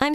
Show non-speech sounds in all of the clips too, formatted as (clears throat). I'm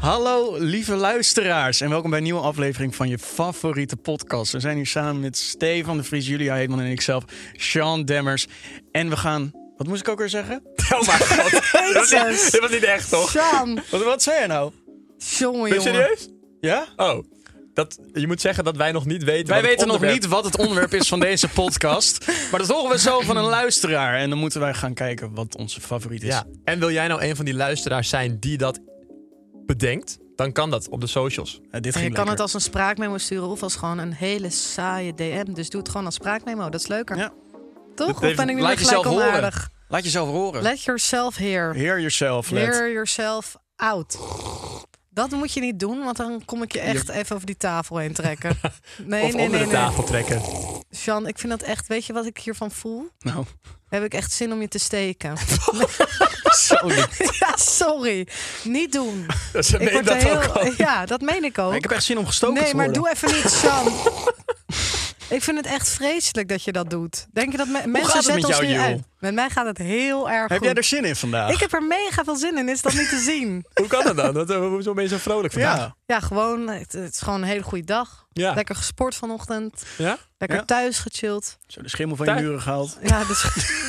Hallo lieve luisteraars en welkom bij een nieuwe aflevering van je favoriete podcast. We zijn hier samen met Stefan de Vries, Julia Heetman en ikzelf, Sean Demmers. En we gaan, wat moest ik ook weer zeggen? Oh mijn god. dit, was niet, (laughs) dit was niet echt, toch? Sam, Wat, wat zei jij nou? jongen, Ben je jongen. serieus? Ja? Oh. Dat, je moet zeggen dat wij nog niet weten Wij wat het weten nog onderwerp- niet wat het onderwerp is van deze podcast, maar dat horen we zo van een luisteraar. En dan moeten wij gaan kijken wat onze favoriet is. Eh, Ja. En wil jij nou een van die luisteraars zijn die dat bedenkt? Dan kan dat op de socials. Eh, dit En je ging kan het lekker. als een spraakmemo sturen of als gewoon een hele saaie DM. Dus doe het gewoon als spraakmemo. Dat is leuker. Ja. Toch? Even- Of ben ik nu laat weer jezelf gelijk horen. onaardig? Laat jezelf horen. Let yourself here. Hear yourself, let. Hear yourself out. Dat moet je niet doen, want dan kom ik je echt even over die tafel heen trekken. Nee, of nee, onder nee, de nee. tafel trekken. Sjan, ik vind dat echt... Weet je wat ik hiervan voel? Nou, (laughs) Heb ik echt zin om je te steken. (laughs) zo (laughs) niet. ja, sorry. Niet doen. Dus ze Ik meen word dat er ook al. Ja, dat meen ik ook. Ik heb echt zin om gestoken Nee, te maar worden. doe even niet, (laughs) Sam. ik vind het echt vreselijk dat je dat doet. Denk je dat me- mensen gaat het zetten met ons jou, nu Jules? uit? Met mij gaat het heel erg Heb goed. jij er zin in vandaag? Ik heb er mega veel zin in. Is dat niet te zien? (laughs) Hoe kan dat dan? Dat, eh, hoezo ben je zo vrolijk vandaag? ja. Ja, gewoon. Het, het is gewoon een hele goede dag. Ja. Lekker gesport vanochtend. Ja? Lekker Ja. thuis gechilled. Zo de schimmel van je Daar- muren gehaald. Ja, dus... (laughs)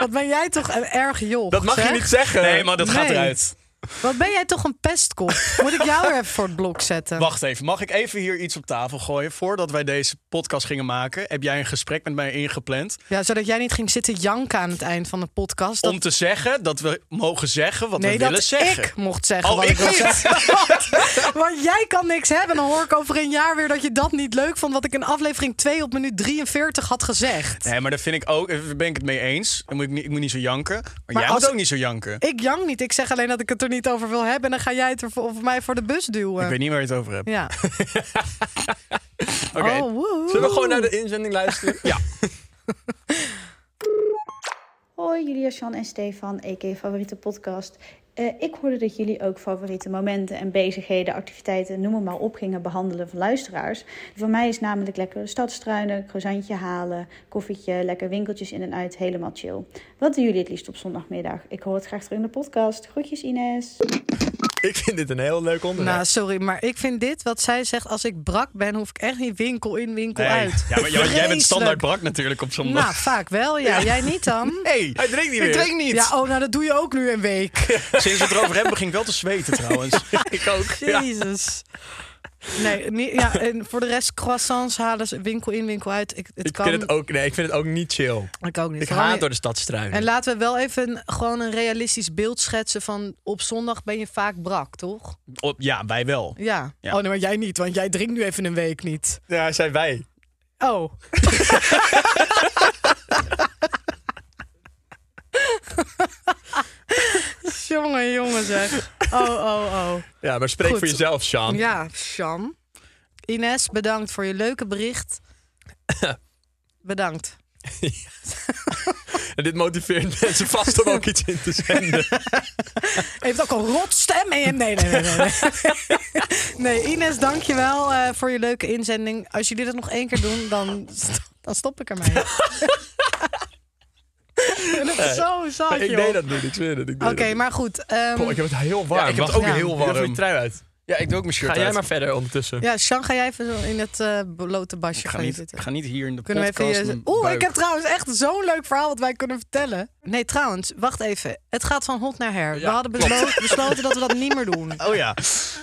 Wat ben jij toch een erg joh? Dat mag je niet zeggen. Nee, maar dat gaat Nee. eruit. Wat ben jij toch een pestkop? Moet ik (laughs) jou er even voor het blok zetten? Wacht even, mag ik even hier iets op tafel gooien? Voordat wij deze podcast gingen maken, heb jij een gesprek met mij ingepland Ja, zodat jij niet ging zitten janken aan het eind van de podcast. Dat om te zeggen dat we mogen zeggen wat we nee, willen dat zeggen. ik mocht zeggen Oh, wat ik ik, wil niet. (laughs) zeggen. want, want jij kan niks hebben. Dan hoor ik over een jaar weer dat je dat niet leuk vond... wat ik in aflevering 2 op minuut 43 had gezegd. Nee, maar daar vind ik ook, daar ben ik het mee eens. Dan moet ik, niet, ik moet niet zo janken. Maar, jij als- moet ook niet zo janken. Ik, Ik jank niet. Ik zeg alleen dat ik het er niet over wil hebben... en dan ga jij het er voor, of mij voor de bus duwen. weet niet waar je het over hebt. Ja. (laughs) Oké. Oh, woe. Zullen we gewoon naar de inzending luisteren? Ja. Hoi Julia, Sjan en Stefan, EK Favoriete Podcast. Eh, ik hoorde dat jullie ook favoriete momenten en bezigheden, activiteiten, noem het maar op, gingen behandelen van luisteraars. Voor mij is namelijk lekker de stad struinen, croissantje halen, koffietje, lekker winkeltjes in en uit, helemaal chill. Wat doen jullie het liefst op zondagmiddag? Ik hoor het graag terug in de podcast. Groetjes Ines. (laughs) Ik vind dit een heel leuk onderwerp. Nou, sorry, maar ik vind dit, wat zij zegt... als ik brak ben, hoef ik echt niet winkel in, winkel Nee. uit. Ja, maar jij- jij bent Vreselijk. standaard brak natuurlijk op zondag. Nou, vaak wel, ja. Jij niet (laughs) dan? hey, Hij drinkt niet ik meer. drink niet. Ja, oh, nou dat doe je ook nu een week. Sinds we het erover hebben, begin ik wel te zweten trouwens. (laughs) ik ook. Ja. Jezus. Nee, niet, ja, en voor de rest croissants halen ze winkel in, winkel uit. Ik, het Ik, kan, vind het ook, nee, ik vind het ook niet chill. ik ook niet. Ik Vooral haat niet- door de stad struinen. En laten we wel even een- gewoon een realistisch beeld schetsen van... op zondag ben je vaak brak, toch? Op- ja, wij wel. Ja. Ja. Oh, nee, maar jij niet, want jij drinkt nu even een week niet. Ja, zijn wij. (laughs) Oh. jongen, jongen zeg. Oh, oh, oh. Ja, maar spreek Goed. voor jezelf, Sean. Ja, Sjan. Ines, bedankt voor je leuke (laughs) bericht. bedankt. En dit motiveert (laughs) mensen vast om ook iets in te (laughs) zenden. Heeft ook een rotstem in hem. Nee, nee, nee. Nee, nee. nee (laughs) Ines, dank je wel eh, voor je leuke inzending. Als jullie dat nog één keer doen, dan, st- dan stop ik ermee. (laughs) dat is zo zat, ik joh. deed dat niet, ik zweer het. ik deed Oké, dat niet. maar goed. ehm, Goh, ik heb het heel warm. Ja, ik heb het Wacht ook even. heel Doe even warm. je trui uit. Ja, ik doe ook mijn shirt Ga jij uit. maar verder ondertussen. Ja, Sjan, ga jij even zo in het eh blote basje Ik ga gaan niet, zitten. ik ga niet hier in de Kunnen we even podcast... je... mijn Oeh, ik buik- heb trouwens echt zo'n leuk verhaal wat wij kunnen vertellen. Nee, trouwens, wacht even. Het gaat van hot naar her. we Ja, hadden klopt. beslo- besloten dat we dat niet meer doen. Oh (laughs) ja.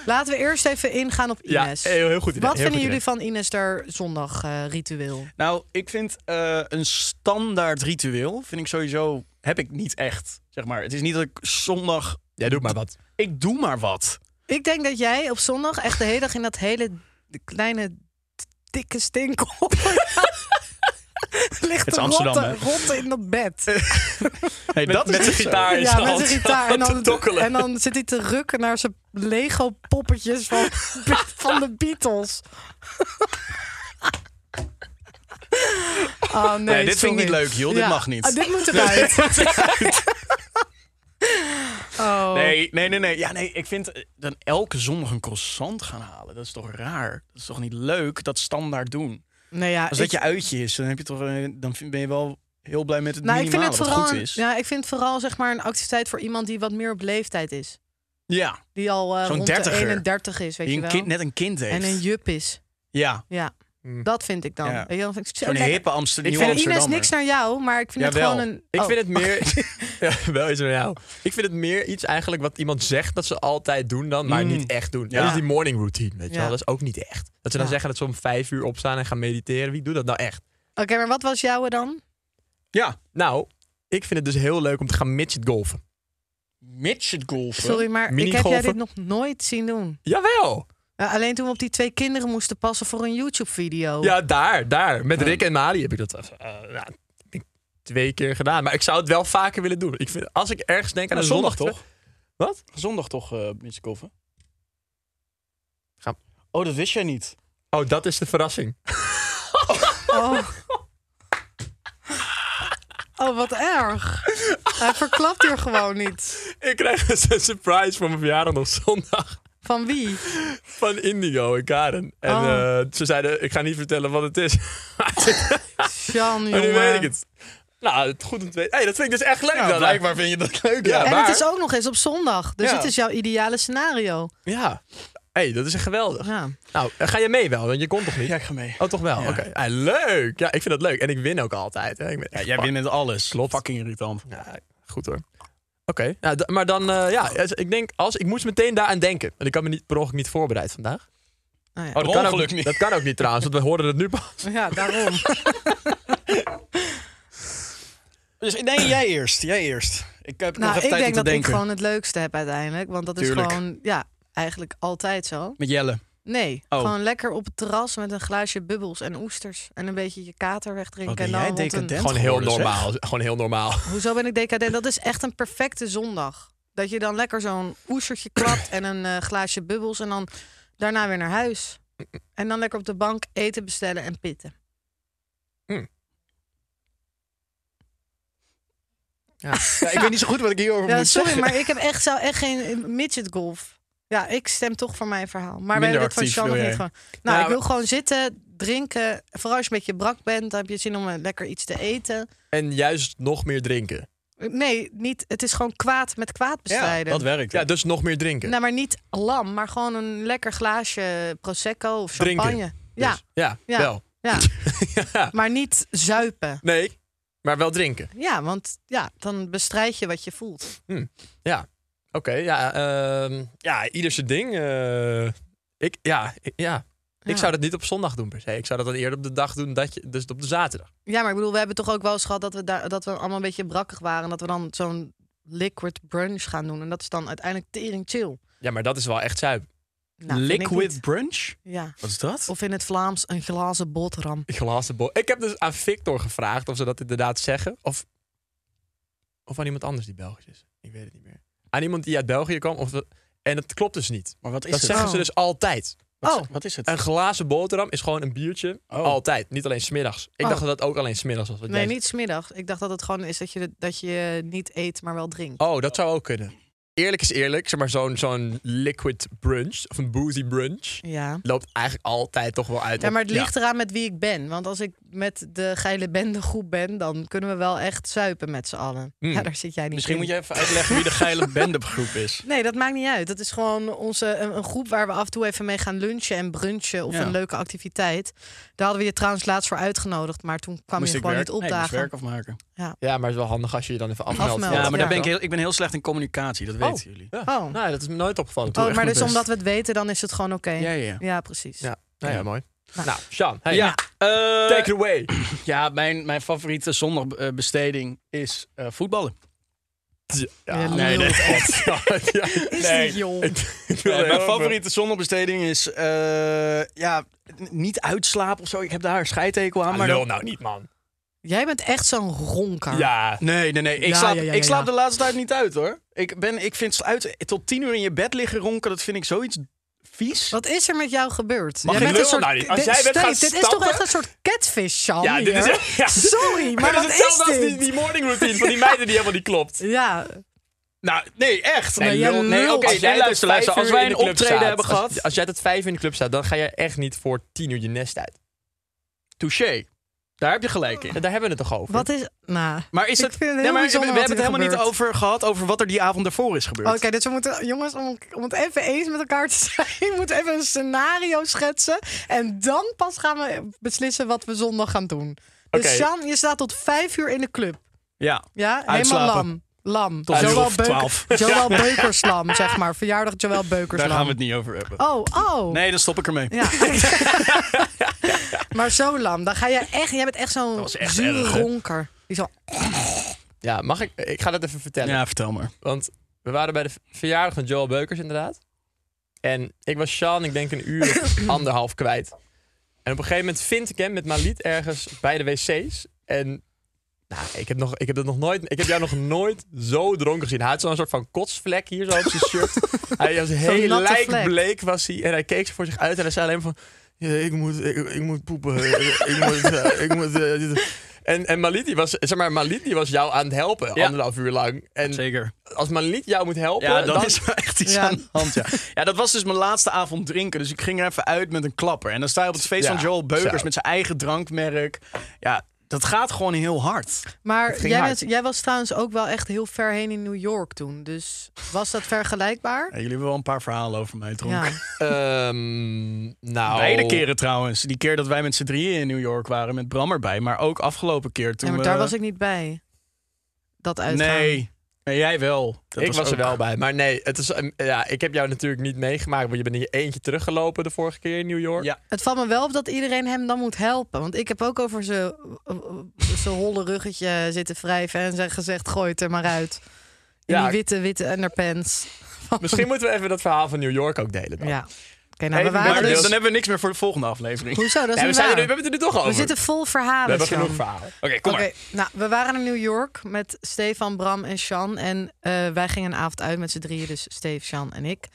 Laten we eerst even ingaan op Ja, Ines. heel- heel goed idee, Wat heel vinden goed jullie van Ines daar zondag eh, ritueel? Nou, ik vind eh, een standaard ritueel, vind ik sowieso, heb ik niet echt. Zeg maar, het is niet dat ik zondag, Jij doet maar wat. ik doe maar wat. Ik denk dat jij op zondag echt de hele dag in dat hele d- kleine d- dikke stinkel (laughs) (laughs) ligt is te Amsterdam, rotten, hè? rotten in dat bed. Nee, dat is niet zo. ja, met zijn gitaar. En te dan, tokkelen. en dan zit hij te rukken naar zijn Lego (laughs) poppetjes van, van de Beatles. Oh, nee, Nee, dit vind ik sorry. niet leuk, joh. Dit mag niet. Ah, dit moet (laughs) eruit. (laughs) oh. Nee, nee, nee, nee. Ja, nee, ik vind eh, dan elke zondag een croissant gaan halen. Dat is toch raar? Dat is toch niet leuk, dat standaard doen? Nou ja, Als dat ik- je uitje is, dan, heb je toch, eh, dan vind- ben je wel heel blij met het Nou, ik vind minimale het wat vooral, goed een- is. ja, ik vind het vooral zeg maar een activiteit voor iemand die wat meer op leeftijd is. Ja, Die al eh Zo'n rond de dertiger. 31 is, weet die je een wel. kind, net een kind heeft. en een jup is. ja, Ja, dat vind ik dan. Ja. Weet je, dan vind ik zo zo'n lekker. hippe Amsterdam. Ik vind Ines niks naar jou, maar ik vind het Jawel. gewoon een... Ik Oh. vind het (laughs) meer. (laughs) Ja, wel is er jou. Ik vind het meer iets eigenlijk wat iemand zegt dat ze altijd doen dan, maar Mm. niet echt doen. Ja. Dat is die morning routine, weet je Ja. wel. Dat is ook niet echt. Dat ze dan Ja. zeggen dat ze om vijf uur opstaan en gaan mediteren. Wie doet dat nou echt? Oké, maar wat was jouwe dan? Ja, Nou, ik vind het dus heel leuk om te gaan midget golfen. midget golfen. Sorry, maar ik heb jij Minigolfen. dit nog nooit zien doen. Jawel! Eh, alleen toen we op die twee kinderen moesten passen voor een YouTube-video. Ja, daar, daar. Met Rick en Mali heb ik dat eh, eh, nou, ik denk twee keer gedaan. Maar ik zou het wel vaker willen doen. Ik vind, als ik ergens denk aan een zondag, toch? Wat? Zondag toch, eh Mitch Koffen? Ga- Oh, dat wist jij niet. Oh, dat is de verrassing. Oh. Oh, wat erg. Hij verklapt hier gewoon (laughs) niet. Ik krijg dus een surprise voor mijn verjaardag op zondag. Van wie? Van Indigo en Karen. En Oh. eh, ze zeiden, ik ga niet vertellen wat het is. (laughs) Oh, maar Sjan, jongen. Nou, nu weet ik het. Nou, het goed om te weten. Hey, dat vind ik dus echt leuk. dan. blijkbaar vind je dat leuk, ja. En maar- het is ook nog eens op zondag. Dus Ja. het is jouw ideale scenario. Ja. hey, dat is echt geweldig. Ja. Nou, eh, ga je mee wel? Want je komt toch niet? Ja, ik ga mee. Oh, toch wel? Ja. Oké. Hey, leuk. Ja, ik vind dat leuk. En ik win ook altijd. Hè. Ik ben echt jij fuck- bent met alles. Klopt. Fucking irritant. Ja, goed hoor. Oké, ja, d- maar dan, eh, ja, als- ik denk, als, ik moest meteen daaraan denken. Want ik had me niet, per ongeluk niet voorbereid vandaag. Nou ja. Oh, kan ook, ongeluk niet. Dat kan ook niet trouwens, want we horen het nu pas. (laughs) ja, daarom. Dus, nee, jij eerst. Jij eerst. Ik heb nog nou, even ik tijd om denk te dat denken. ik gewoon het leukste heb uiteindelijk. Want dat Tuurlijk. is gewoon, ja, eigenlijk altijd zo. Met Jelle. Nee, Oh. gewoon lekker op het terras met een glaasje bubbels en oesters. En een beetje je kater Wat wegdrinken. ben en dan jij rond een- decadent? Gewoon heel geworden, zeg. normaal. Gewoon heel normaal. Hoezo ben ik decadent? Dat is echt een perfecte zondag. Dat je dan lekker zo'n oestertje klapt en een eh, glaasje bubbels. En dan daarna weer naar huis. En dan lekker op de bank eten bestellen en pitten. Ja, ik weet niet zo goed wat ik hierover Ja, moet sorry, zeggen. (laughs) maar ik heb echt, zou echt geen midget golf. Ja, ik stem toch voor mijn verhaal. Maar wij Minder hebben dit van actief Sean nog wil niet jij. gewoon. Nou, Nou, ik wil gewoon zitten, drinken. Vooral als je een beetje brak bent, dan heb je zin om eh, lekker iets te eten. En juist nog meer drinken. Nee, niet, het is gewoon kwaad met kwaad Ja, bestrijden. dat werkt. Ja, dus nog meer drinken. Nou, maar niet lam, maar gewoon een lekker glaasje prosecco of Drinken. champagne. Ja, Dus, ja, Ja. wel. ja, (laughs) Ja. maar niet zuipen. Nee, maar wel drinken. Ja, want ja, dan bestrijd je wat je voelt. Ja, oké. ja, ehm, ja, ieder zijn ding. eh, ik, ja, ik, ja. Ja. Ah. ik zou dat niet op zondag doen per se. Ik zou dat dan eerder op de dag doen, dat je, dus op de zaterdag. Ja, maar ik bedoel, we hebben toch ook wel eens gehad dat we, daar, dat we allemaal een beetje brakkig waren. En dat we dan zo'n liquid brunch gaan doen. En dat is dan uiteindelijk tering chill. Ja, maar dat is wel echt zuip. (laughs) Nou, vind ik Liquid niet. brunch? Ja. Wat is dat? Of in het Vlaams een glazen boterham. glazen bol. Ik heb dus aan Victor gevraagd of ze dat inderdaad zeggen. Of, of aan iemand anders die Belgisch is. Ik weet het niet meer. Aan iemand die uit België kwam. Of, en dat klopt dus niet. Maar wat is dat het? zeggen ze Oh. dus altijd. Wat, oh. wat is het? Een glazen boterham is gewoon een biertje. Oh. Altijd. Niet alleen smiddags. Ik Oh. dacht dat dat ook alleen smiddags was. wat Nee, jij niet smiddags. Ik dacht dat het gewoon is dat je, dat je niet eet, maar wel drinkt. Oh, dat zou ook kunnen. Eerlijk is eerlijk. Zeg maar zo'n zo'n liquid brunch. Of een boozy brunch. Ja. Loopt eigenlijk altijd toch wel uit. Ja, op- maar het ligt eraan met wie ik ben. Want als ik met de geile bende groep ben, dan kunnen we wel echt zuipen met z'n allen. Hmm. Ja, daar zit jij niet Misschien in. moet je even uitleggen wie de geile bendegroep is. Nee, dat maakt niet uit. Dat is gewoon onze, een, een groep waar we af en toe even mee gaan lunchen en brunchen of Ja. een leuke activiteit. Daar hadden we je trouwens laatst voor uitgenodigd, maar toen kwam Moest je ik gewoon werk, niet Nee, ik moest opdagen. werk afmaken. Ja, maar het is wel handig als je je dan even afmeldt. Afmeldt, Ja, maar ja. daar ben ik, heel, ik ben heel slecht in communicatie, dat Oh, weten jullie. Ja. Oh. Nou, dat is me nooit opgevallen. doe oh, echt maar mijn dus best. omdat we het weten, dan is het gewoon oké. Ja, ja, ja. precies. Ja. Nou ja, Ja. mooi. Nou, Sean, hey, Ja, eh, take it (laughs) away. ja mijn, mijn favoriete zondagbesteding is eh, voetballen. Je nee, lult. nee. Ja, Is Nee. niet jong. ik wil Nee, mijn heel favoriete zondagbesteding is eh, ja, n- niet uitslapen of zo. Ik heb daar een scheidtekel aan. veel- Maar lul dat- nou niet, man. Jij bent echt zo'n ronker. Ja. Nee, nee, nee. Ik Ja, slaap, ja, ja, ik ja, slaap de ja. laatste tijd niet uit hoor. Ik, ben, ik vind uit, tot tien uur in je bed liggen ronken, dat vind ik zoiets vies. Wat is er met jou gebeurd? Mag Jij ik bent een lullen? Nou, die- als dit- jij bent Steve, gaan dit is toch stappen- echt een soort catfish, Sean? Ja, dit is hier? echt- (laughs) ja. Sorry, maar dat is wat is hetzelfde als die, dit? die morning routine (laughs) van die meiden die helemaal niet klopt. Ja, Nou, nee, echt. Nee, jij lul. nee lult. oké, Als nee, jij tot luister, luister. vijf Als uur wij in een de club optreden staat, hebben als- gehad, Als jij tot vijf uur in de club staat, dan ga je echt niet voor tien uur je nest uit. touché. Daar heb je gelijk in. Daar hebben we het toch over? wat is... Nou, Maar is Ik dat? vind het heel nee, maar we bijzonder hebben wat het er helemaal niet gebeurt. over gehad over wat er die avond daarvoor is gebeurd. Oké, dus we moeten, jongens, om, om het even eens met elkaar te (laughs) zijn, moeten we even een scenario schetsen. En dan pas gaan we beslissen wat we zondag gaan doen. Oké. Dus Sjaan, je staat tot vijf uur in de club. Ja. Ja, helemaal Uitslapen. lam. Lam. Tot een uur Joël of Beuker- twaalf. Joël Beukerslam, zeg maar. Verjaardag Joël Beukerslam. Daar gaan we het niet over hebben. Oh, oh. Nee, dan stop ik ermee. (laughs) Ja. (laughs) maar zo lam, dan ga jij echt... Jij bent echt zo'n was echt zure erg, hè? ronker. Die zo... Ja, mag ik? Ik ga dat even vertellen. Ja, vertel maar. Want we waren bij de verjaardag van Joel Beukers inderdaad. En ik was Sean, ik denk een uur (coughs) of anderhalf kwijt. En op een gegeven moment vind ik hem met Maliet ergens bij de wc's. En nou, ik, heb nog, ik, heb dat nog nooit, ik heb jou nog nooit zo dronken gezien. Hij had zo'n soort van kotsvlek hier (laughs) zo op zijn shirt. hij was heel natte lijkbleek was hij. En hij keek voor zich uit en hij zei alleen maar van... "Ja, ik, moet, ik, ik (laughs) moet poepen. Ik, moet... eh, ik moet eh, dit." en, en Maliet, die was, zeg maar, Maliet die was jou aan het helpen, Ja. anderhalf uur lang. En Zeker. als mijn lied jou moet helpen, Ja, dan, dan is er echt iets Ja. aan de hand. Ja. ja, dat was dus mijn laatste avond drinken. Dus ik ging er even uit met een klapper. En dan sta je op het feest Ja, van Joel Beukers zo. met zijn eigen drankmerk. Ja, dat gaat gewoon heel hard. Maar Het ging jij, hard. bent- jij was trouwens ook wel echt heel ver heen in New York toen. Dus was dat vergelijkbaar? Ja, jullie hebben wel een paar verhalen over mij dronken. Ehm, nou, Beide keren trouwens. Die keer dat wij met z'n drieën in New York waren met Bram erbij. Maar ook afgelopen keer toen ja, maar we... daar was ik niet bij. Dat uitgaan. eh, Nee. nee, jij wel. Dat ik was, er ook- wel bij. Maar nee, het is, ehm, ja, ik heb jou natuurlijk niet meegemaakt, want je bent in je eentje teruggelopen de vorige keer in New York. Ja. Het valt me wel op dat iedereen hem dan moet helpen. Want ik heb ook over zijn eh, eh, zijn holle ruggetje zitten wrijven en zijn gezegd: gooi het er maar uit. In Ja. die witte, witte underpants. Misschien moeten we even dat verhaal van New York ook delen. Dan. Ja. Oké, nou, we Hey, waren Maar dus- dan hebben we niks meer voor de volgende aflevering. Oké, Hoezo? Dat is Nee, we, niet zijn er, waar. nu- we hebben het er nu toch over. We zitten vol verhalen. we hebben Sjan. genoeg verhalen. kom Oké, maar. nou, we waren in New York met Stefan, Bram en Sjan. En eh, wij gingen een avond uit met z'n drieën, dus Steve, Sjan en ik.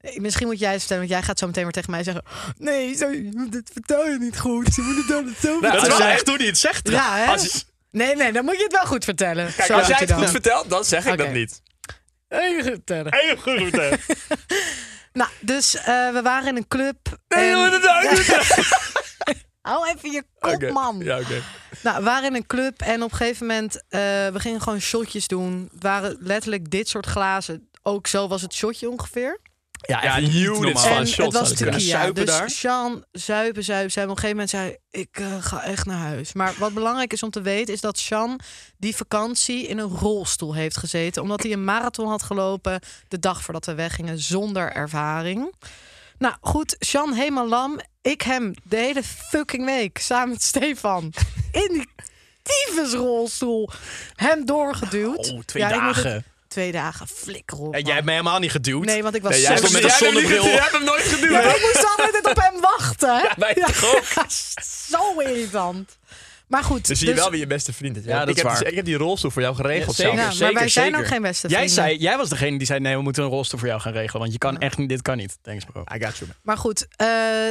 Eh, Misschien moet jij het vertellen, want jij gaat zo meteen weer tegen mij zeggen... Nee, zo, dat vertel je niet goed. Je moet het dan zo Nou, Dat is als wel vertellen." jij- echt hoe hij het zegt. Ja, hè? Als je- Nee, nee, dan moet je het wel goed vertellen. Kijk, Zo als jij doet het hij goed dan. vertelt, dan zeg ik dat Oké. niet. Heel goed vertellen. Heel goed (laughs) verteld. Nou, dus eh, we waren in een club. Nee, en- joh, dat is ook (laughs) niet. Hou even je kop, eh. Oké. Oh, man. Ja, oké. Nou, we waren in een club en op een gegeven moment... eh, we gingen gewoon shotjes doen. Het waren letterlijk dit soort glazen. Ook zo was het shotje ongeveer. Ja, Ja, echt niet units normaal. van En shots het was hadden we. natuurlijk kunnen zuipen dus daar. Sean zuipen, zuipen, zuipen. Op een gegeven moment zei hij, ik eh, ga echt naar huis. Maar wat belangrijk is om te weten, is dat Sean die vakantie in een rolstoel heeft gezeten. Omdat hij een marathon had gelopen de dag voordat we weggingen, zonder ervaring. Nou goed, Sean helemaal lam. Ik hem de hele fucking week, samen met Stefan, in die tyfusrolstoel hem doorgeduwd. Oh, twee Ja, ik moet het- dagen. twee dagen, flikker op. En jij hebt man. mij helemaal niet geduwd. Nee, want ik was Nee, jij zo stond met een Jij hebt hem niet zonnebril. geduwd, Jij hebt hem nooit geduwd. ja, maar ik moest altijd net op hem wachten. hè? wij toch ook? (laughs) Zo irritant. Maar goed. Dus zie je wel wie je beste vriend is. hè? Ja, dat ik, is heb waar. Die, ik heb die rolstoel voor jou geregeld. Ja, zeker. Sander. Ja, maar wij zijn ook geen beste Jij, vrienden. zei, jij was degene die zei: nee, we moeten een rolstoel voor jou gaan regelen. Want je kan echt niet, dit kan niet. Thanks, bro. I got you. man. Maar goed, eh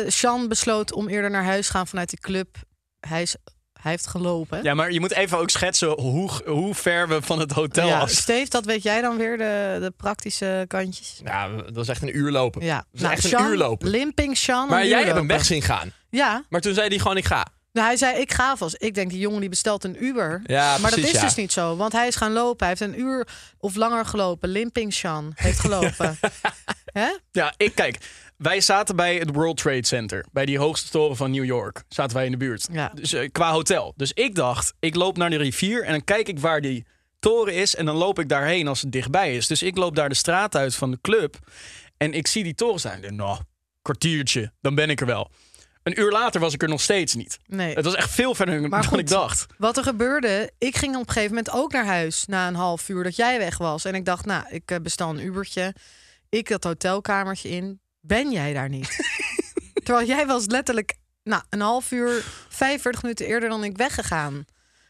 Sean besloot om eerder naar huis te gaan vanuit de club. Hij, is, hij heeft gelopen. Ja, maar je moet even ook schetsen hoe, hoe ver we van het hotel Ja, af zijn. Steve, dat weet jij dan weer, de, de praktische kantjes. Ja, dat was echt een uur lopen. Ja, Nou, Dat is echt een Sean, uur lopen. Limping Sean. Maar een jij uur hebt hem lopen. weg zien gaan. Ja, Maar toen zei hij gewoon, ik ga. Nou, hij zei, ik ga vast. Ik denk, die jongen die bestelt een Uber. Ja, maar precies, dat is ja. dus niet zo. Want hij is gaan lopen. Hij heeft een uur of langer gelopen. Limping Shan heeft gelopen. (laughs) Hè? Ja, ik kijk. Wij zaten bij het World Trade Center, bij die hoogste toren van New York. Zaten wij in de buurt. Ja. Dus, eh, qua hotel. Dus ik dacht, ik loop naar de rivier en dan kijk ik waar die toren is. En dan loop ik daarheen als het dichtbij is. Dus ik loop daar de straat uit van de club. En ik zie die toren staan. Ik denk, nou, kwartiertje, dan ben ik er wel. Een uur later was ik er nog steeds niet. Nee. Het was echt veel verder dan Maar goed. ik dacht. Wat er gebeurde, ik ging op een gegeven moment ook naar huis na een half uur dat jij weg was. En ik dacht, nou, ik eh, bestel een Ubertje. Ik dat hotelkamertje in. Ben jij daar niet? (laughs) Terwijl jij was letterlijk nou, een half uur, 45 minuten eerder dan ik weggegaan.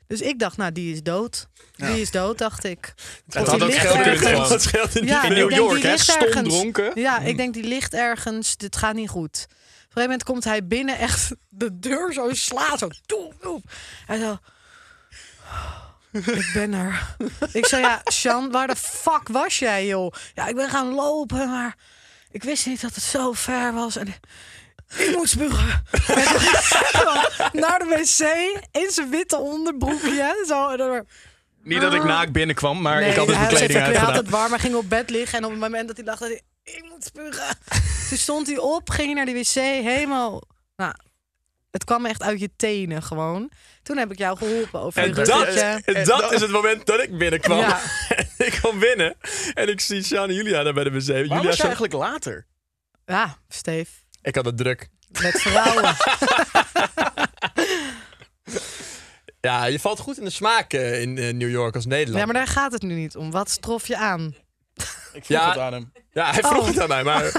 Dus ik dacht, nou, die is dood. Die is dood, dacht ik. Het had ook geld kunnen kosten. Het (laughs) scheelde niet ik in New denk, York, die hè? ligt Stom ergens. dronken. Hmm. Ja, ik denk die ligt ergens. Dit gaat niet goed. Op een gegeven moment komt hij binnen, echt (laughs) de deur zo slaat. Zo, doep, doep. Hij zo... Ik ben er. Ik zei, ja, Sjan, waar de fuck was jij, joh? Ja, ik ben gaan lopen, maar ik wist niet dat het zo ver was. En ik moest spugen. (laughs) En toen ging hij gewoon naar de wc, in zijn witte onderbroekje. Zo, en dan- Niet dat ik naak binnenkwam, maar ik had dus Ah. hij mijn kleding Hij had uitgedaan. het warm, maar ging op bed liggen. En op het moment dat hij dacht, dat hij, ik moet spugen. (laughs) Toen stond hij op, ging hij naar de wc, helemaal... Nou, het kwam echt uit je tenen gewoon. Toen heb ik jou geholpen over En je dat, ruggetje. en dat is het moment dat ik binnenkwam. Ja. En (laughs) ik kwam binnen en ik zie Sjaan en Julia daar bij de wc. Julia Waarom was je zo- eigenlijk later? Ja, Steef, Ik had het druk. (laughs) met vrouwen. Ja, je valt goed in de smaak eh, in eh, New York als Nederland. ja, maar daar gaat het nu niet om. Wat trof je aan? Ik vroeg ja, het aan hem. Ja, hij vroeg Oh. het aan mij, maar (laughs)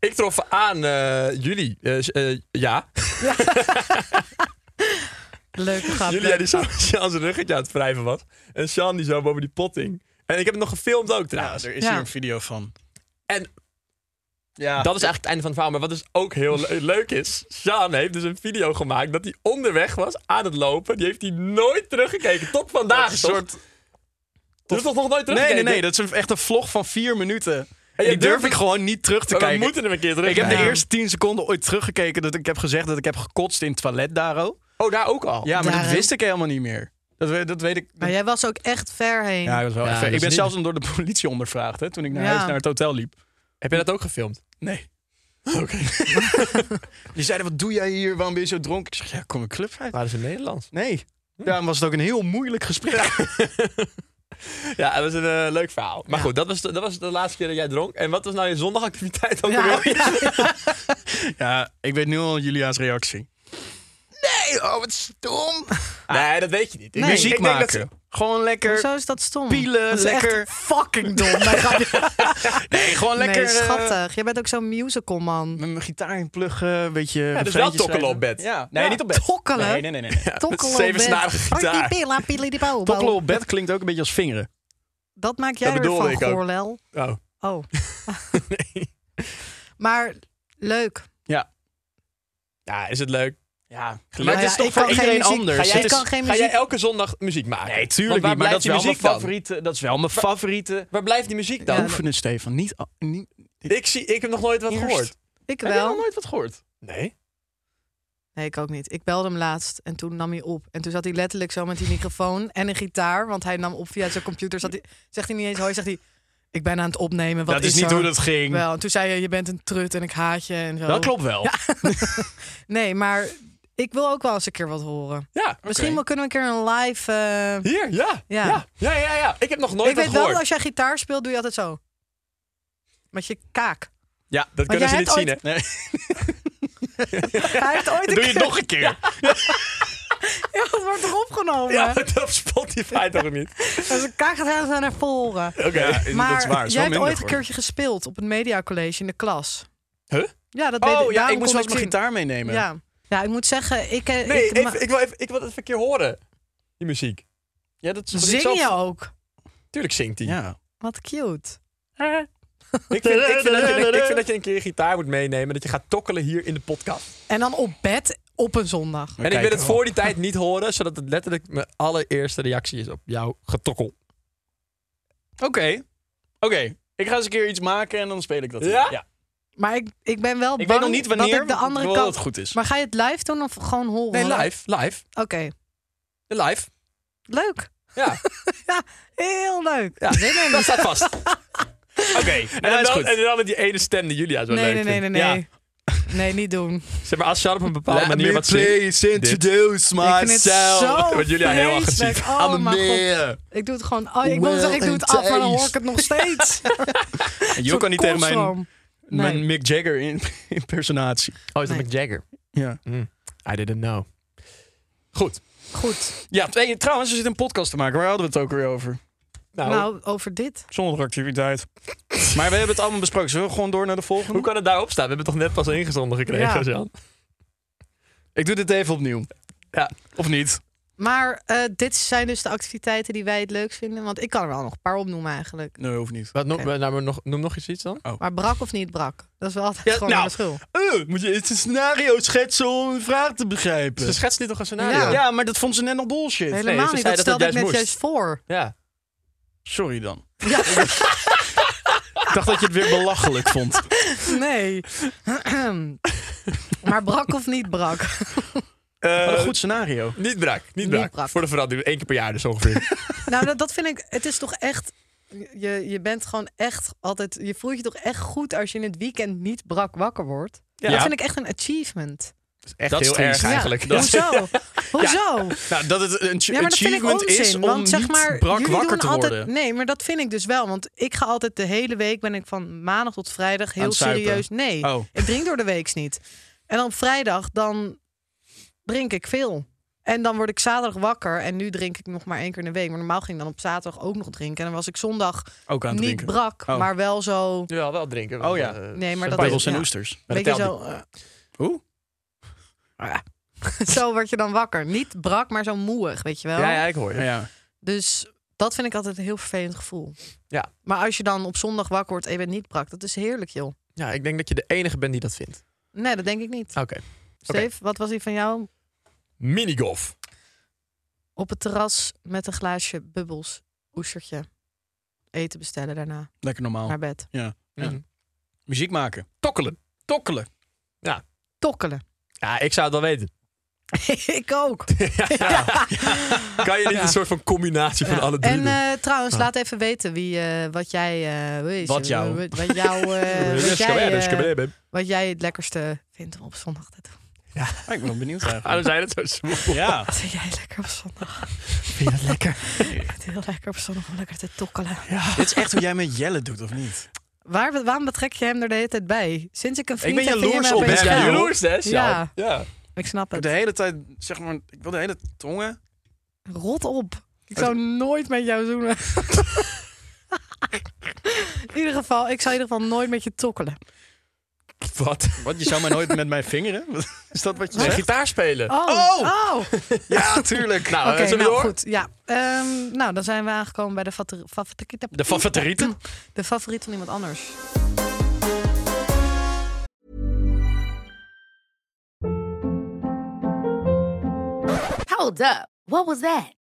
ik trof aan eh, jullie. Eh, s- eh, ja, Leuke grap. Julia die (laughs) zo Sjaan zijn ruggetje aan het wrijven was. En Sjaan die zo boven die potting. En ik heb het nog gefilmd ook trouwens. er is Ja. hier een video van. En Ja, dat is eigenlijk het einde van het verhaal. Maar wat dus ook heel (laughs) le- leuk is. Sjaan heeft dus een video gemaakt dat hij onderweg was aan het lopen. Die heeft hij nooit teruggekeken. Tot vandaag. een toch? soort... Je hebt toch nog nooit Nee, teruggekeken? nee, nee. Dat is een- echt een vlog van vier minuten. En je die durf durft- ik gewoon niet terug te Maar kijken. We moeten hem een keer Ik heb terugkijken. de eerste tien seconden ooit teruggekeken dat ik heb gezegd dat ik heb gekotst in het toilet, Daro. Oh, daar ook al. Ja, maar dat Daro. wist ik helemaal niet meer. Dat, we- dat weet ik. Maar jij was ook echt ver heen. Ja, ik was wel Ja, even- dat ik is ben niet- zelfs door de politie ondervraagd hè, toen ik naar Ja. huis naar het hotel liep. Heb je dat ook gefilmd? Nee. Oké. (laughs) Die zeiden, wat doe jij hier? Waarom ben je zo dronken? Ik zeg, ja, kom een club uit. Waren ze in Nederland? Nee. Hm. Daarom was het ook een heel moeilijk gesprek. (laughs) Ja, dat was een eh, leuk verhaal. Maar Ja. goed, dat was, de, dat was de laatste keer dat jij dronk. En wat was nou je zondagactiviteit ook Ja, alweer? (laughs) ja. Ja, ik weet nu al Julia's reactie. Nee, oh, wat stom. Ah. Nee, dat weet je niet. Ik- Nee. Muziek ik denk dat maken. ze- Gewoon lekker. Zo is dat stom. Pielen, Dat is echt lekker. fucking dom. Nee, grapje. (laughs) Nee, gewoon lekker. Nee, eh, schattig. Jij bent ook zo'n musical man. met mijn gitaar in pluggen, een beetje. Ja, dus wel tokkelen op bed. Ja. Nee, Ja, niet op bed. tokkelen? Nee, nee, nee. nee. nee. Tokkelen op zeven bed. snaren gitaar. Hoi, die pila, pili, die pauw, pauw. Tokkelen op bed klinkt ook een beetje als (laughs) vingeren. Dat maak jij Dat weer bedoelde van ik ook. Gorlel. Oh. Oh. Maar leuk. Ja. Ja, is het leuk? Ja. Maar Nou het is ja, toch ik voor kan geen iedereen muziek- anders. Ga jij- Het ik is- kan geen ga jij muziek- elke zondag muziek maken? Nee, Want tuurlijk waar niet. Maar dat blijft is wel die mijn muziek dan? favoriete. Dat is wel mijn favoriete. Waar blijft die muziek dan? Oefenen, Stefan. Niet. a- niet Ik, zie, ik heb nog nooit wat Eerst. gehoord. Ik Heb je nog wel. nooit wat gehoord? Nee? Nee, ik ook niet. Ik belde hem laatst en toen nam hij op. En toen zat hij letterlijk zo met die microfoon en een gitaar. Want hij nam op via zijn computer. Zat hij, zegt hij niet eens hoi, zegt hij... Ik ben aan het opnemen. Wat dat is, niet er? hoe dat ging. Wel, en toen zei hij, je bent een trut en ik haat je. En zo. Dat klopt wel. Nee, maar ik wil ook wel eens een keer wat horen. Ja, (laughs) oké. Misschien wel kunnen we een keer een live... eh, Hier, ja. Ja. Ja. ja. Ja, ja, Ik heb nog nooit ik wat weet wel, gehoord. als jij gitaar speelt, doe je altijd zo. Met je kaak. Ja, dat kunnen ze jij niet hebt zien, hè? ooit- (laughs) Hij heeft ooit een Doe je het keer- nog een keer. Ja, dat wordt toch opgenomen? (laughs) Ja, maar op Spotify toch (laughs) niet? Dus de kaak gaat heel snel naar voren. Oké. Maar dat is waar. Het is jij wel hebt minder ooit een geworden. keertje gespeeld op het mediacollege in de klas. Huh? Ja, dat weet Oh ik. ja, Daarom ik moest kon wel eens mijn zien. gitaar meenemen. Ja. ja, ik moet zeggen, ik... eh, Nee, ik, even- ma- ik, wil even, ik wil het even een keer horen. Die muziek. ja dat is zing je ook? Tuurlijk zingt hij. Ja. Wat cute. Ik, vind, ik, vind dat je, ik (laughs) vind dat je een keer gitaar moet meenemen. Dat je gaat tokkelen hier in de podcast. En dan op bed op een zondag. en ik wil het voor die tijd niet horen. Zodat het letterlijk mijn allereerste reactie is op jouw getokkel. Oké. Oké. Ik ga eens een keer iets maken en dan speel ik dat. Ja? ja. Maar ik, ik ben wel Ik bang weet nog niet dat wanneer ik de andere wel kant... het goed is. Maar ga je het live doen of gewoon horen? Nee, Hoor. live. Live. Oké, Live. leuk. Ja, (laughs) Ja, heel leuk. ja. dat staat (laughs) vast. Oké, en, dat is dan wel- goed. en dan met die ene stem die Julia zo leuk Nee, nee, nee, nee, vindt. nee. Ja. Nee, niet doen. Zeg maar, als Sean op een bepaalde Let manier me wat zingt... please introduce Ik vind het (laughs) zo Wordt jullie heel vreselijk. agressief. Oh, mijn god. Yeah. Ik doe het gewoon... Oh, ik wil Well zeggen, ik doe het af, maar dan hoor ik het nog (laughs) steeds. Je kan niet tegen mijn, Kotsroom. mijn Nee. Mick Jagger in, (laughs) impersonatie. Oh, is dat Nee. Mick Jagger? Ja. I didn't know. Goed. Goed. ja, hey, trouwens, er zit een podcast te maken. Waar hadden we het ook weer over? Nou, Nou, over dit. Zonder activiteit. maar we hebben het allemaal besproken. Zullen we gewoon door naar de volgende? hoe kan het daarop staan? We hebben het toch net pas ingezonden gekregen, Ja. Sean? Ik doe dit even opnieuw. Ja. Of niet? Maar eh, dit zijn dus de activiteiten die wij het leuk vinden. Want ik kan er wel nog een paar opnoemen eigenlijk. Nee, hoeft niet. Wat, noem, Oké. nou, maar nog, noem nog eens iets dan. Maar brak of niet brak? Dat is wel altijd Ja, gewoon nou. een verschil. Eh, moet je het een scenario schetsen om een vraag te begrijpen? Ze schetst niet toch een scenario? Ja. maar dat vond ze net nog bullshit. Hele- Helemaal ze niet. zei Dat, dat stelde het ik net juist moest. juist voor. Ja. Sorry dan. (laughs) ik dacht dat je het weer belachelijk vond. (laughs) Nee. (clears throat) maar brak of niet brak? Wat een goed scenario. Eh, Niet brak, niet, Niet brak. brak. Voor de verandering, één keer per jaar dus ongeveer. nou, dat, dat vind ik... Het is toch echt... Je, je bent gewoon echt altijd... Je voelt je toch echt goed als je in het weekend niet brak wakker wordt? Ja. Dat vind ik echt een achievement. Echt Dat is heel triest. erg Ja. eigenlijk. (laughs) Ja. Dat is- Hoezo? Hoezo? Nou, dat het een Ja, maar dat vind ik achievement onzin. is om want zeg niet maar, brak jullie wakker doen te altijd, worden. Nee, maar dat vind ik dus wel. Want ik ga altijd de hele week, ben ik van maandag tot vrijdag Aan heel het zuipen. serieus. Nee, Oh. ik drink door de week niet. En dan op vrijdag, dan drink ik veel. En dan word ik zaterdag wakker. En nu drink ik nog maar één keer in de week. Maar normaal ging ik dan op zaterdag ook nog drinken. En dan was ik zondag Ook aan het niet drinken. brak, Oh. maar wel zo... Jawel, wel drinken. Oh ja. Eh, Nee, maar dat champagne. Bijbels en ja. oesters. Maar dat Weet je telt zo, niet. Hoe? eh, (laughs) zo word je dan wakker. Niet brak, maar zo moeig, weet je wel. Ja, ja, ik hoor je. Ja. Dus dat vind ik altijd een heel vervelend gevoel. Ja. Maar als je dan op zondag wakker wordt en je bent niet brak, dat is heerlijk, joh. Ja, ik denk dat je de enige bent die dat vindt. Nee, dat denk ik niet. Oké. Steve, wat was die van jou? Minigolf. Op het terras met een glaasje bubbels, oestertje. Eten bestellen daarna, Lekker Oh. normaal. naar bed. Ja. Ja. Muziek maken. Tokkelen. Tokkelen. (laughs) Tokkelen. Ja, ik zou het wel weten. (laughs) ik (laughs) ook. Kan je niet een soort van combinatie van Ja. alle Ah. drie En doen? eh, trouwens, laat even weten wie, eh, wat jij... eh, hoe is Wat het? jou. Wat, wat jou (laughs) eh, Dus wat, jij, kabel, dus eh, kabel, babe. wat jij het lekkerste vindt om op zondag te doen. (laughs) Ah, ik ben wel benieuwd Ah, eigenlijk. dan zei je dat zo smoel. (laughs) Ja. Wat vind jij lekker op zondag? Vind je dat (laughs) lekker? Het heel lekker op zondag om lekker te tokkelen. Dit is echt hoe jij met Jelle doet, of niet? Waar, waarom betrek je hem er de hele tijd bij? Sinds ik een vriend ben heb, vind je jaloers hem op opeens hem. Ja, Ja. geil. jaloers hè, Sjaal? Ja. ja. Ik snap Ik heb de het. hele tijd, zeg maar, ik wil de hele tongen. Rot op. Ik zou nooit met jou zoenen. (laughs) in ieder geval, ik zou in ieder geval nooit met je tokkelen. Wat? Wat, je zou mij nooit met mijn vingeren? Is dat wat je Nee, zegt? gitaar spelen. Oh, Oh! oh. Ja, tuurlijk. Nou, Oké, eh, zullen we nou door? goed. Ja. Ehm, nou, dan zijn we aangekomen bij de fater- favoriete... De favorieten? De favoriet van iemand anders. Hold up. What was that?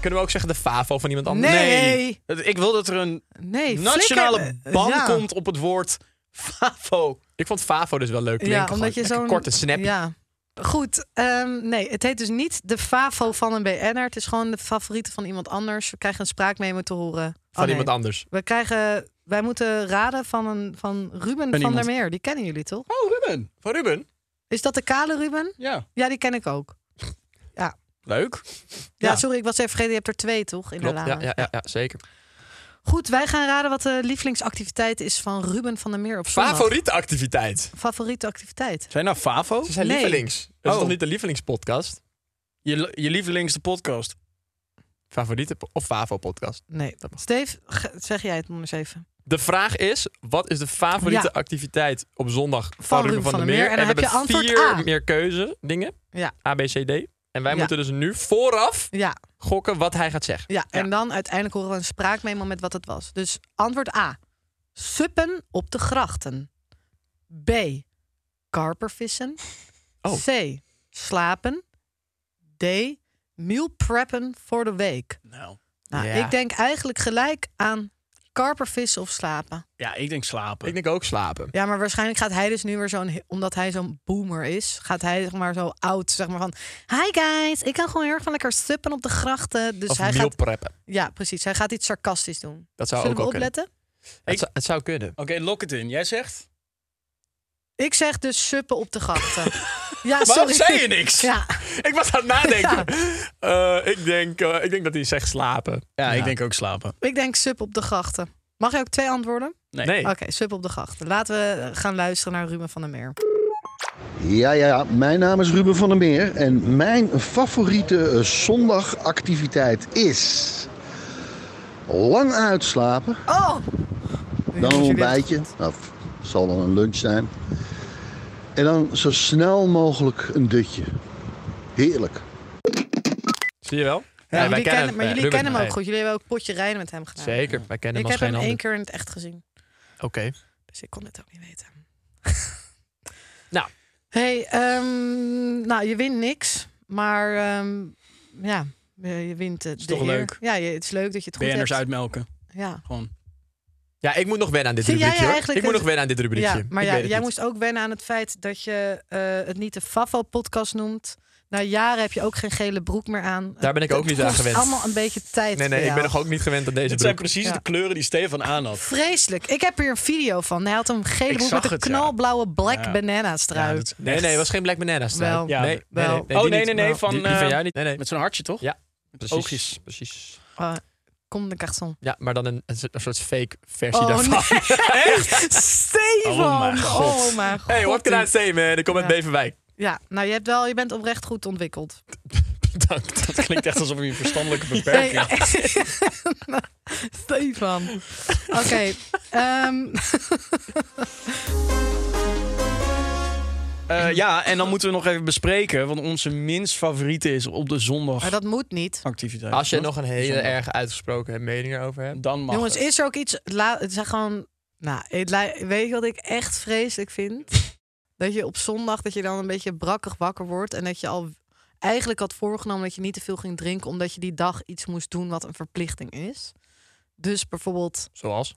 Kunnen we ook zeggen de favo van iemand anders? Nee. Dat- Ik wil dat er een Nee, nationale flikker. Eh, ban Ja. komt op het woord favo. Ik vond favo dus wel leuk Ja, klinken. omdat je zo'n... Een korte snap. Ja. Goed, ehm, nee, het heet dus niet de favo van een BN'er. Het is gewoon de favoriete van iemand anders. We krijgen een spraakmemo te horen. Oh, van nee. iemand anders. We krijgen, wij moeten raden van, een, van Ruben van iemand. der Meer. Die kennen jullie toch? Oh, Ruben. Van Ruben? Is dat de kale Ruben? Ja. Ja, die ken ik ook. Leuk. Ja, Ja. sorry, ik was even vergeten. Je hebt er twee, toch? In de Klopt. lade. Ja, ja, ja, ja, zeker. Goed, wij gaan raden wat de lievelingsactiviteit is van Ruben van der Meer op zondag. Favoriete activiteit? Favoriete activiteit. Zijn nou favo? Ze zijn Nee. lievelings. Dat is Oh. toch niet de lievelingspodcast? Je, je lievelings de podcast. favoriete po- of FAVO-podcast. Nee. Dat mag. Steve, ge- zeg jij het nog eens even. De vraag is, wat is de favoriete Ja. activiteit op zondag van, Ruben Ruben van, der Meer? En dan we heb je hebben antwoord vier A. meer keuze dingen. Ja. A, B, C, D. En wij Ja. moeten dus nu vooraf Ja, gokken wat hij gaat zeggen. ja. en dan uiteindelijk horen we een spraakmemo met wat het was. Dus antwoord A. Suppen op de grachten. B. Karpervissen. Oh. C. Slapen. D. Meal preppen voor de week. Nou, Nou, Ja. ik denk eigenlijk gelijk aan karpervissen of slapen. ja, ik denk slapen. Ik denk ook slapen. Ja, maar waarschijnlijk gaat hij dus nu weer zo'n... Omdat hij zo'n boomer is, gaat hij zeg maar zo oud, zeg maar van... Hi guys, ik kan gewoon heel erg van lekker suppen op de grachten. Dus of hij meal gaat... preppen. Ja, precies. Hij gaat iets sarcastisch doen. Dat zou Zullen ook we wel kunnen. opletten? Het, zou, het zou kunnen. Oké, lok het in. Jij zegt? Ik zeg dus suppen op de (laughs) grachten. ja, Waarom sorry. zei je niks? Ja, Ik was aan het (laughs) nadenken. Eh, ik, denk, eh, ik denk dat hij zegt slapen. Ja, ik denk ook slapen. ik denk suppen op de grachten. Mag je ook twee antwoorden? Nee. Oké, suppen op de grachten. Laten we eh, gaan luisteren naar Ruben van der Meer. Ja, ja, ja. Mijn naam is Ruben van der Meer en mijn favoriete eh, zondagactiviteit is lang uitslapen, Oh! dan een ontbijtje, dat zal dan een lunch zijn, en dan zo snel mogelijk een dutje. Heerlijk. Zie je wel? Ja, jullie kennen, maar eh, Ruben jullie kennen hem van ook Rijn. goed. Jullie hebben ook potje rijden met hem gedaan. Zeker, wij kennen Ik hem heb als geen hem ander. één keer in het echt gezien. Oké. Dus ik kon het ook niet weten. Nou. Hey, ehm, nou, je wint niks. Maar ehm, ja, eh, je wint het. Is toch leuk? Ja, je- het is leuk dat je het goed BN'ers hebt. uitmelken. Ja. Gewoon. Ja, ik moet nog wennen aan dit Zie jij rubriekje. hoor. eigenlijk Ik moet het- nog wennen aan dit rubriekje. ja, maar Ik ja, weet het jij niet. moest ook wennen aan het feit dat je eh, het niet de Fafo-podcast noemt. Na jaren heb je ook geen gele broek meer aan. Daar ben ik ook Het niet aan kost gewend. allemaal een beetje Nee, tijd. voor nee, ik jou. ben nog ook niet gewend aan deze Dit zijn broek. precies Ja. de kleuren die Stefan aan had. Vreselijk. Ik heb hier een video van. Hij had een gele Ik broek zag met een het, ja. knalblauwe black Ja. banana Ja, strui. dat is Nee, echt- nee, het was geen Black Banana strijd. Wel. Ja, nee, wel. nee, nee, Oh, die nee, niet. nee, nee, Die- van, die, van eh, jou niet. Nee, nee. Met zo'n hartje, toch? Ja, Met precies, (laughs) oogjes. Precies. Eh, kom de karton. Ja, maar dan een, een soort- een soort fake versie Oh, daarvan. (laughs) Stefan! Oh mijn god. Oh mijn Hey, what can I god. say, man? Ik kom uit Ja. Beverwijk. Ja, nou je, hebt wel, je bent oprecht goed ontwikkeld. Bedankt. Dat klinkt echt alsof je een verstandelijke beperking hebt. (laughs) Stefan. Oké. ehm, (laughs) Eh, ja, en dan moeten we nog even bespreken want onze minst favoriete is op de maar zondag dat moet niet. activiteit. Als je toch? nog een hele Zondag. erg uitgesproken mening erover hebt. Dan mag Jongens, het. is er ook iets... La, het zijn gewoon... Nou, het lij- weet je wat ik echt vreselijk vind? Dat je op zondag dat je dan een beetje brakkig wakker wordt... en dat je al eigenlijk had voorgenomen dat je niet te veel ging drinken... omdat je die dag iets moest doen wat een verplichting is. Dus bijvoorbeeld Zoals?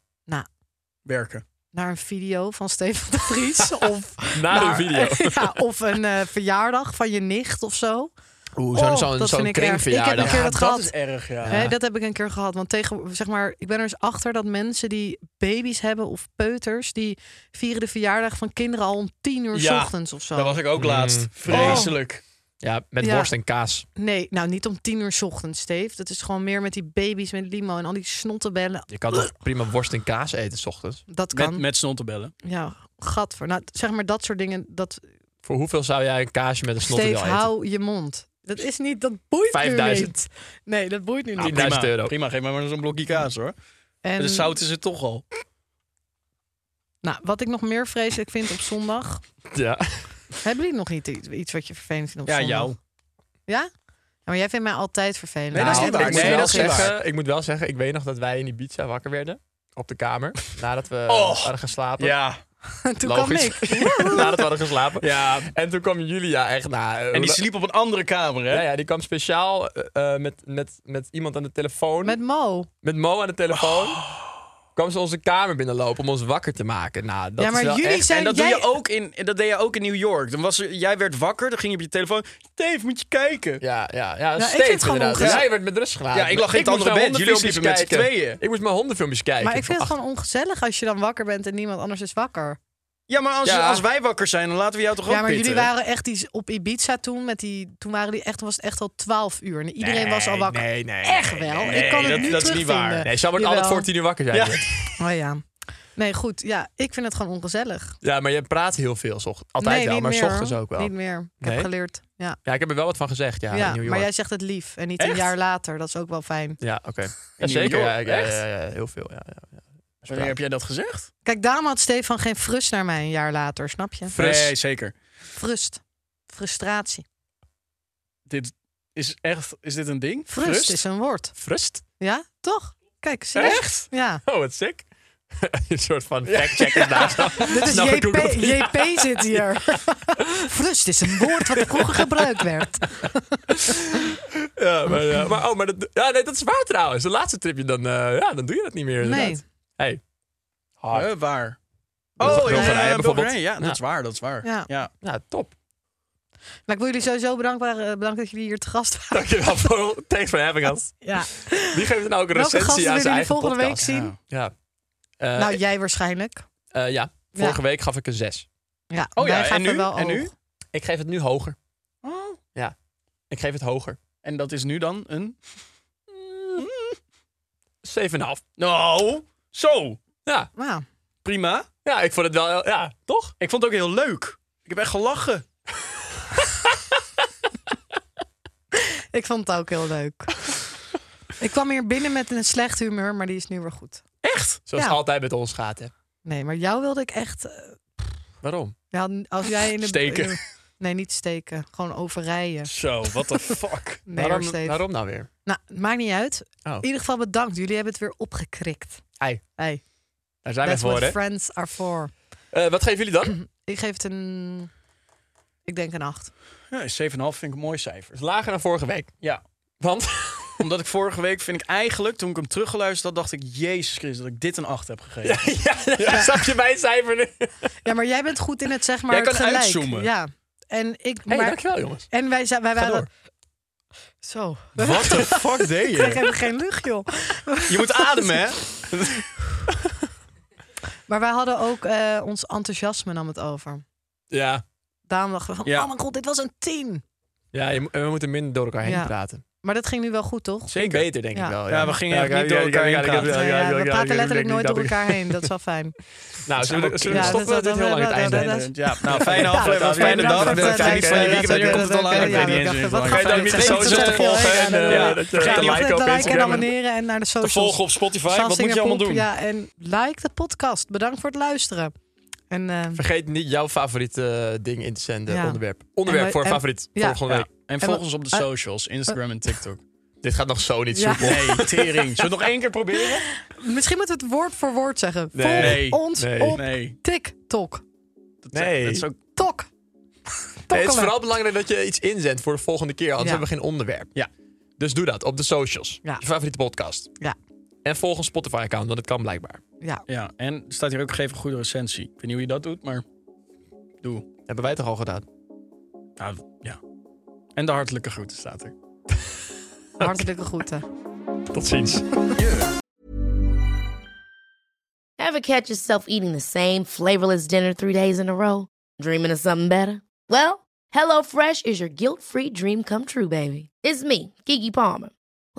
werken. naar een video van Stefan de (laughs) Vries... of Na de Maar- video. (laughs) ja, of een eh, verjaardag van je nicht of zo. Oeh, Oh, zo'n zo'n dat vind zo'n ik erg. Ik heb kringverjaardag. een keer dat gehad. is erg, ja. Hè, dat heb ik een keer gehad. Want tegen, zeg maar, ik ben er eens achter dat mensen die baby's hebben of peuters... die vieren de verjaardag van kinderen al om tien uur 's Ja, ochtends of zo. Daar was ik ook laatst. Mm. Vreselijk. Ja, met Ja. worst en kaas. Nee, nou niet om tien uur 's ochtends, Steve. Dat is gewoon meer met die baby's met limo en al die snottebellen. Je kan toch prima worst en kaas eten s ochtends? Dat Met, kan. met snottebellen. Ja, gadver. Nou, zeg maar dat soort dingen. Dat, Voor hoeveel zou jij een kaasje met een snotterdeel Steve, eten? hou je mond. Dat is niet, dat boeit nu 5000. niet. Nee, dat boeit nu Nou, niet. prima. 10.000 euro. Ah, Prima, geef mij maar zo'n blokje kaas hoor. En- De zout is dus het toch al. Nou, wat ik nog meer vreselijk vind op zondag. (laughs) Ja. Hebben jullie nog niet iets, iets wat je vervelend vindt op Ja, zondag? jou. Ja? Ja, Maar jij vindt mij altijd vervelend. Nee, dat is Nou, niet waar. Ik Nee, moet, wel dat is niet zeggen, ik moet wel zeggen, ik weet nog dat wij in Ibiza wakker werden. Op de kamer. (laughs) Nadat we Oh. hadden geslapen. Ja. Toen kwam Logisch. ik. (laughs) nadat we hadden geslapen. ja. En toen kwam Julia echt na. eh, En die hoe- sliep op een andere kamer, hè? ja, ja, die kwam speciaal eh, eh, met, met, met iemand aan de telefoon. Met Oh. Met, Mo. Mo aan de telefoon. Kwam ze onze kamer binnenlopen om ons wakker te maken. Nou, dat Ja, maar is wel jullie echt... zijn- En dat, jij- doe je ook in, dat deed je ook in New York. Dan was er- jij werd wakker, dan ging je op je telefoon. Dave, moet je kijken. Ja, ja, ja, Nou, ik vind het steeds gewoon inderdaad. ongezien. Jij werd met rust gelaten. Ja, ik lag in het moest andere mijn bed. Jullie hondenfilmpjes sliepen met z'n kijken. tweeën. Ik moest mijn hondenfilmpjes kijken. Maar ik vind het Ach, gewoon ongezellig als je dan wakker bent en niemand anders is wakker. Ja, maar als, Ja. als wij wakker zijn, dan laten we jou toch ook ja, maar pitten? jullie waren echt die, op Ibiza toen. Met die, toen waren die echt, was het echt al 12 uur. En iedereen was al Oh, nee, wakker. Nee, nee. echt nee, wel. nee, ik kan nee, dat- het nu dat is niet waar. terugvinden. Nee, Sam wordt altijd Jawel. voor tien uur wakker zijn. Ja. Jut. Oh ja. Nee, goed. Ja, ik vind het gewoon ongezellig. Ja, maar je praat heel veel. 's ochtends. Altijd nee, wel, niet maar meer, 's ochtends hoor. ook wel. Niet meer. Ik Nee? heb geleerd. Ja, Ja, ik heb er wel wat van gezegd, ja, ja, in New York. maar jij zegt het lief en niet een Echt? jaar later. Dat is ook wel fijn. Ja, oké. Ja, New zeker, ja, York, ja, echt? ja, ja, heel veel, ja. ja, ja. Wanneer heb jij dat gezegd? Kijk, daarom had Stefan geen frust naar mij een jaar later, snap je? Fris. Nee, zeker. Frust. Frustratie. Dit is echt... Is dit een ding? Frust, is een woord. Frust? Ja, toch? Kijk, zie je? Echt? (laughs) Ja. Oh, wat sick. een soort van fact-checker naast. Dit is Nou, ik doe JP, dat. Ja. JP zit hier. Frust is een woord wat vroeger gebruikt werd. (laughs) Ja, maar, ja, maar, oh, maar dat, ja, nee, dat is waar trouwens. De laatste tripje, dan, eh, ja, dan doe je dat niet meer. Nee. inderdaad. Hey. Hard. Eh, waar? Dat is in, Bulgarije eh, bijvoorbeeld. Bulgarije, Ja, dat Ja. is waar, dat is waar. Ja. ja. Nou, top. Maar ik wil jullie sowieso bedankbaar, eh, bedankt dat jullie hier te gast waren. Dankjewel (laughs) voor Thanks for having us. Ja. Wie geeft nou ook een Welke recensie gasten aan willen zijn jullie eigen volgende week podcast? zien? Ja. Ja. Eh, Nou, jij waarschijnlijk. eh, ja, vorige week gaf ik een 6. Ja, Oh ja, wij en gaven nu? wel En nu? oog. Ik geef het nu hoger. Oh. Ik geef het hoger. En dat is nu dan een... 7,5. Nou, zo. Ja. Nou, Prima. ja, ik vond het wel... heel- Ja, toch? Ik vond het ook heel leuk. Ik heb echt gelachen. ik vond het ook heel leuk. ik kwam hier binnen met een slecht humeur, maar die is nu weer goed. Echt? Zoals Ja. het altijd met ons gaat, hè. Nee, maar jou wilde ik echt... eh, Waarom? ja, als jij in de... Steken. in de- nee, niet steken. Gewoon overrijden. Zo, what (laughs) the fuck. Nee, hoor, waarom, Steve. waarom nou weer? Nou, maakt niet uit. Oh. In ieder geval bedankt. Jullie hebben het weer opgekrikt. Hey, Hey, daar zijn that's we voor, what hè. friends are for. Eh, wat geven jullie (clears throat) dan? Ik geef het een... Ik denk een acht. Ja, 7,5 vind ik een mooi cijfer. is lager dan vorige week. Ja. Want... (laughs) Omdat ik vorige week, vind ik eigenlijk, toen ik hem teruggeluisterd had, dacht ik... Jezus Christus, dat ik dit een 8 heb gegeven. (laughs) ja, ja, snap je mijn cijfer nu? Ja, maar jij bent goed in het zeg maar Jij het kan gelijk. uitzoomen. Ja. En ik... Hey, (laughs) maar- dankjewel, jongens. En wij, zijn, wij Ga waren... Zo. (laughs) What (laughs) the fuck deed Ik je? heb geen lucht, joh. Je moet ademen, hè? Maar wij hadden ook eh, ons enthousiasme nam het over. Ja, Daarom dachten we van, Ja. oh mijn god, dit was een tien. ja je mo- we moeten minder door elkaar heen Ja. praten. Maar dat ging nu wel goed, toch? Zeker. Beter, denk Ja. ik wel. Ja, we gingen echt niet door elkaar heen praten. Ja, ja, we praten letterlijk nooit door elkaar heen. Dat is wel fijn. Nou, zullen we, zullen we Ja, stoppen met dat- dit dat- heel lang het dat- dat- einde? dat- Ja, nou, fijne aflevering, fijne dag. Bedankt voor het Fijne luisteren. weekend, want je komt het al aan. Ik Ja, weet niet we eens dachten, hoe het wat lang Ga je gaat. dan ook niet de socials te volgen en eh, Ja. dat je Vergeet te niet liken op en Instagram. abonneren en naar de Te socials. volgen op Spotify, wat moet Sassinger je allemaal Poep, doen? Ja, en like de podcast. Bedankt voor het luisteren. En, eh, Vergeet niet jouw favoriete eh, ding in te zenden, Ja. onderwerp. Onderwerp wij- voor en- favoriet, ja. volgende Ja, week. En volg ons op de socials, Instagram en TikTok. Dit gaat nog zo niet Ja. soepel. (laughs) Nee, (laughs) tering. Zullen we het nog één keer proberen? misschien moeten we het woord voor woord zeggen. Nee. Volg ons Nee. op Nee. TikTok. Dat, Nee. dat is ook... Tok. Nee, het is Tokkelen. vooral belangrijk dat je iets inzendt voor de volgende keer, anders Ja. hebben we geen onderwerp. Ja. Dus doe dat op de socials. Ja. Je favoriete podcast. Ja. En volg een Spotify-account, want het kan blijkbaar. Ja. Ja, en er staat hier ook gegeven goede recensie. Ik weet niet hoe je dat doet, maar doe. Hebben wij toch al gedaan? Nou, ja. En de hartelijke groeten staat er. Hartelijke groeten. Tot ziens. Ever catch yourself eating the same flavorless dinner three days in a row? Dreaming of something better? Well, HelloFresh is your guilt-free dream come true, baby. It's me, Kiki Palmer.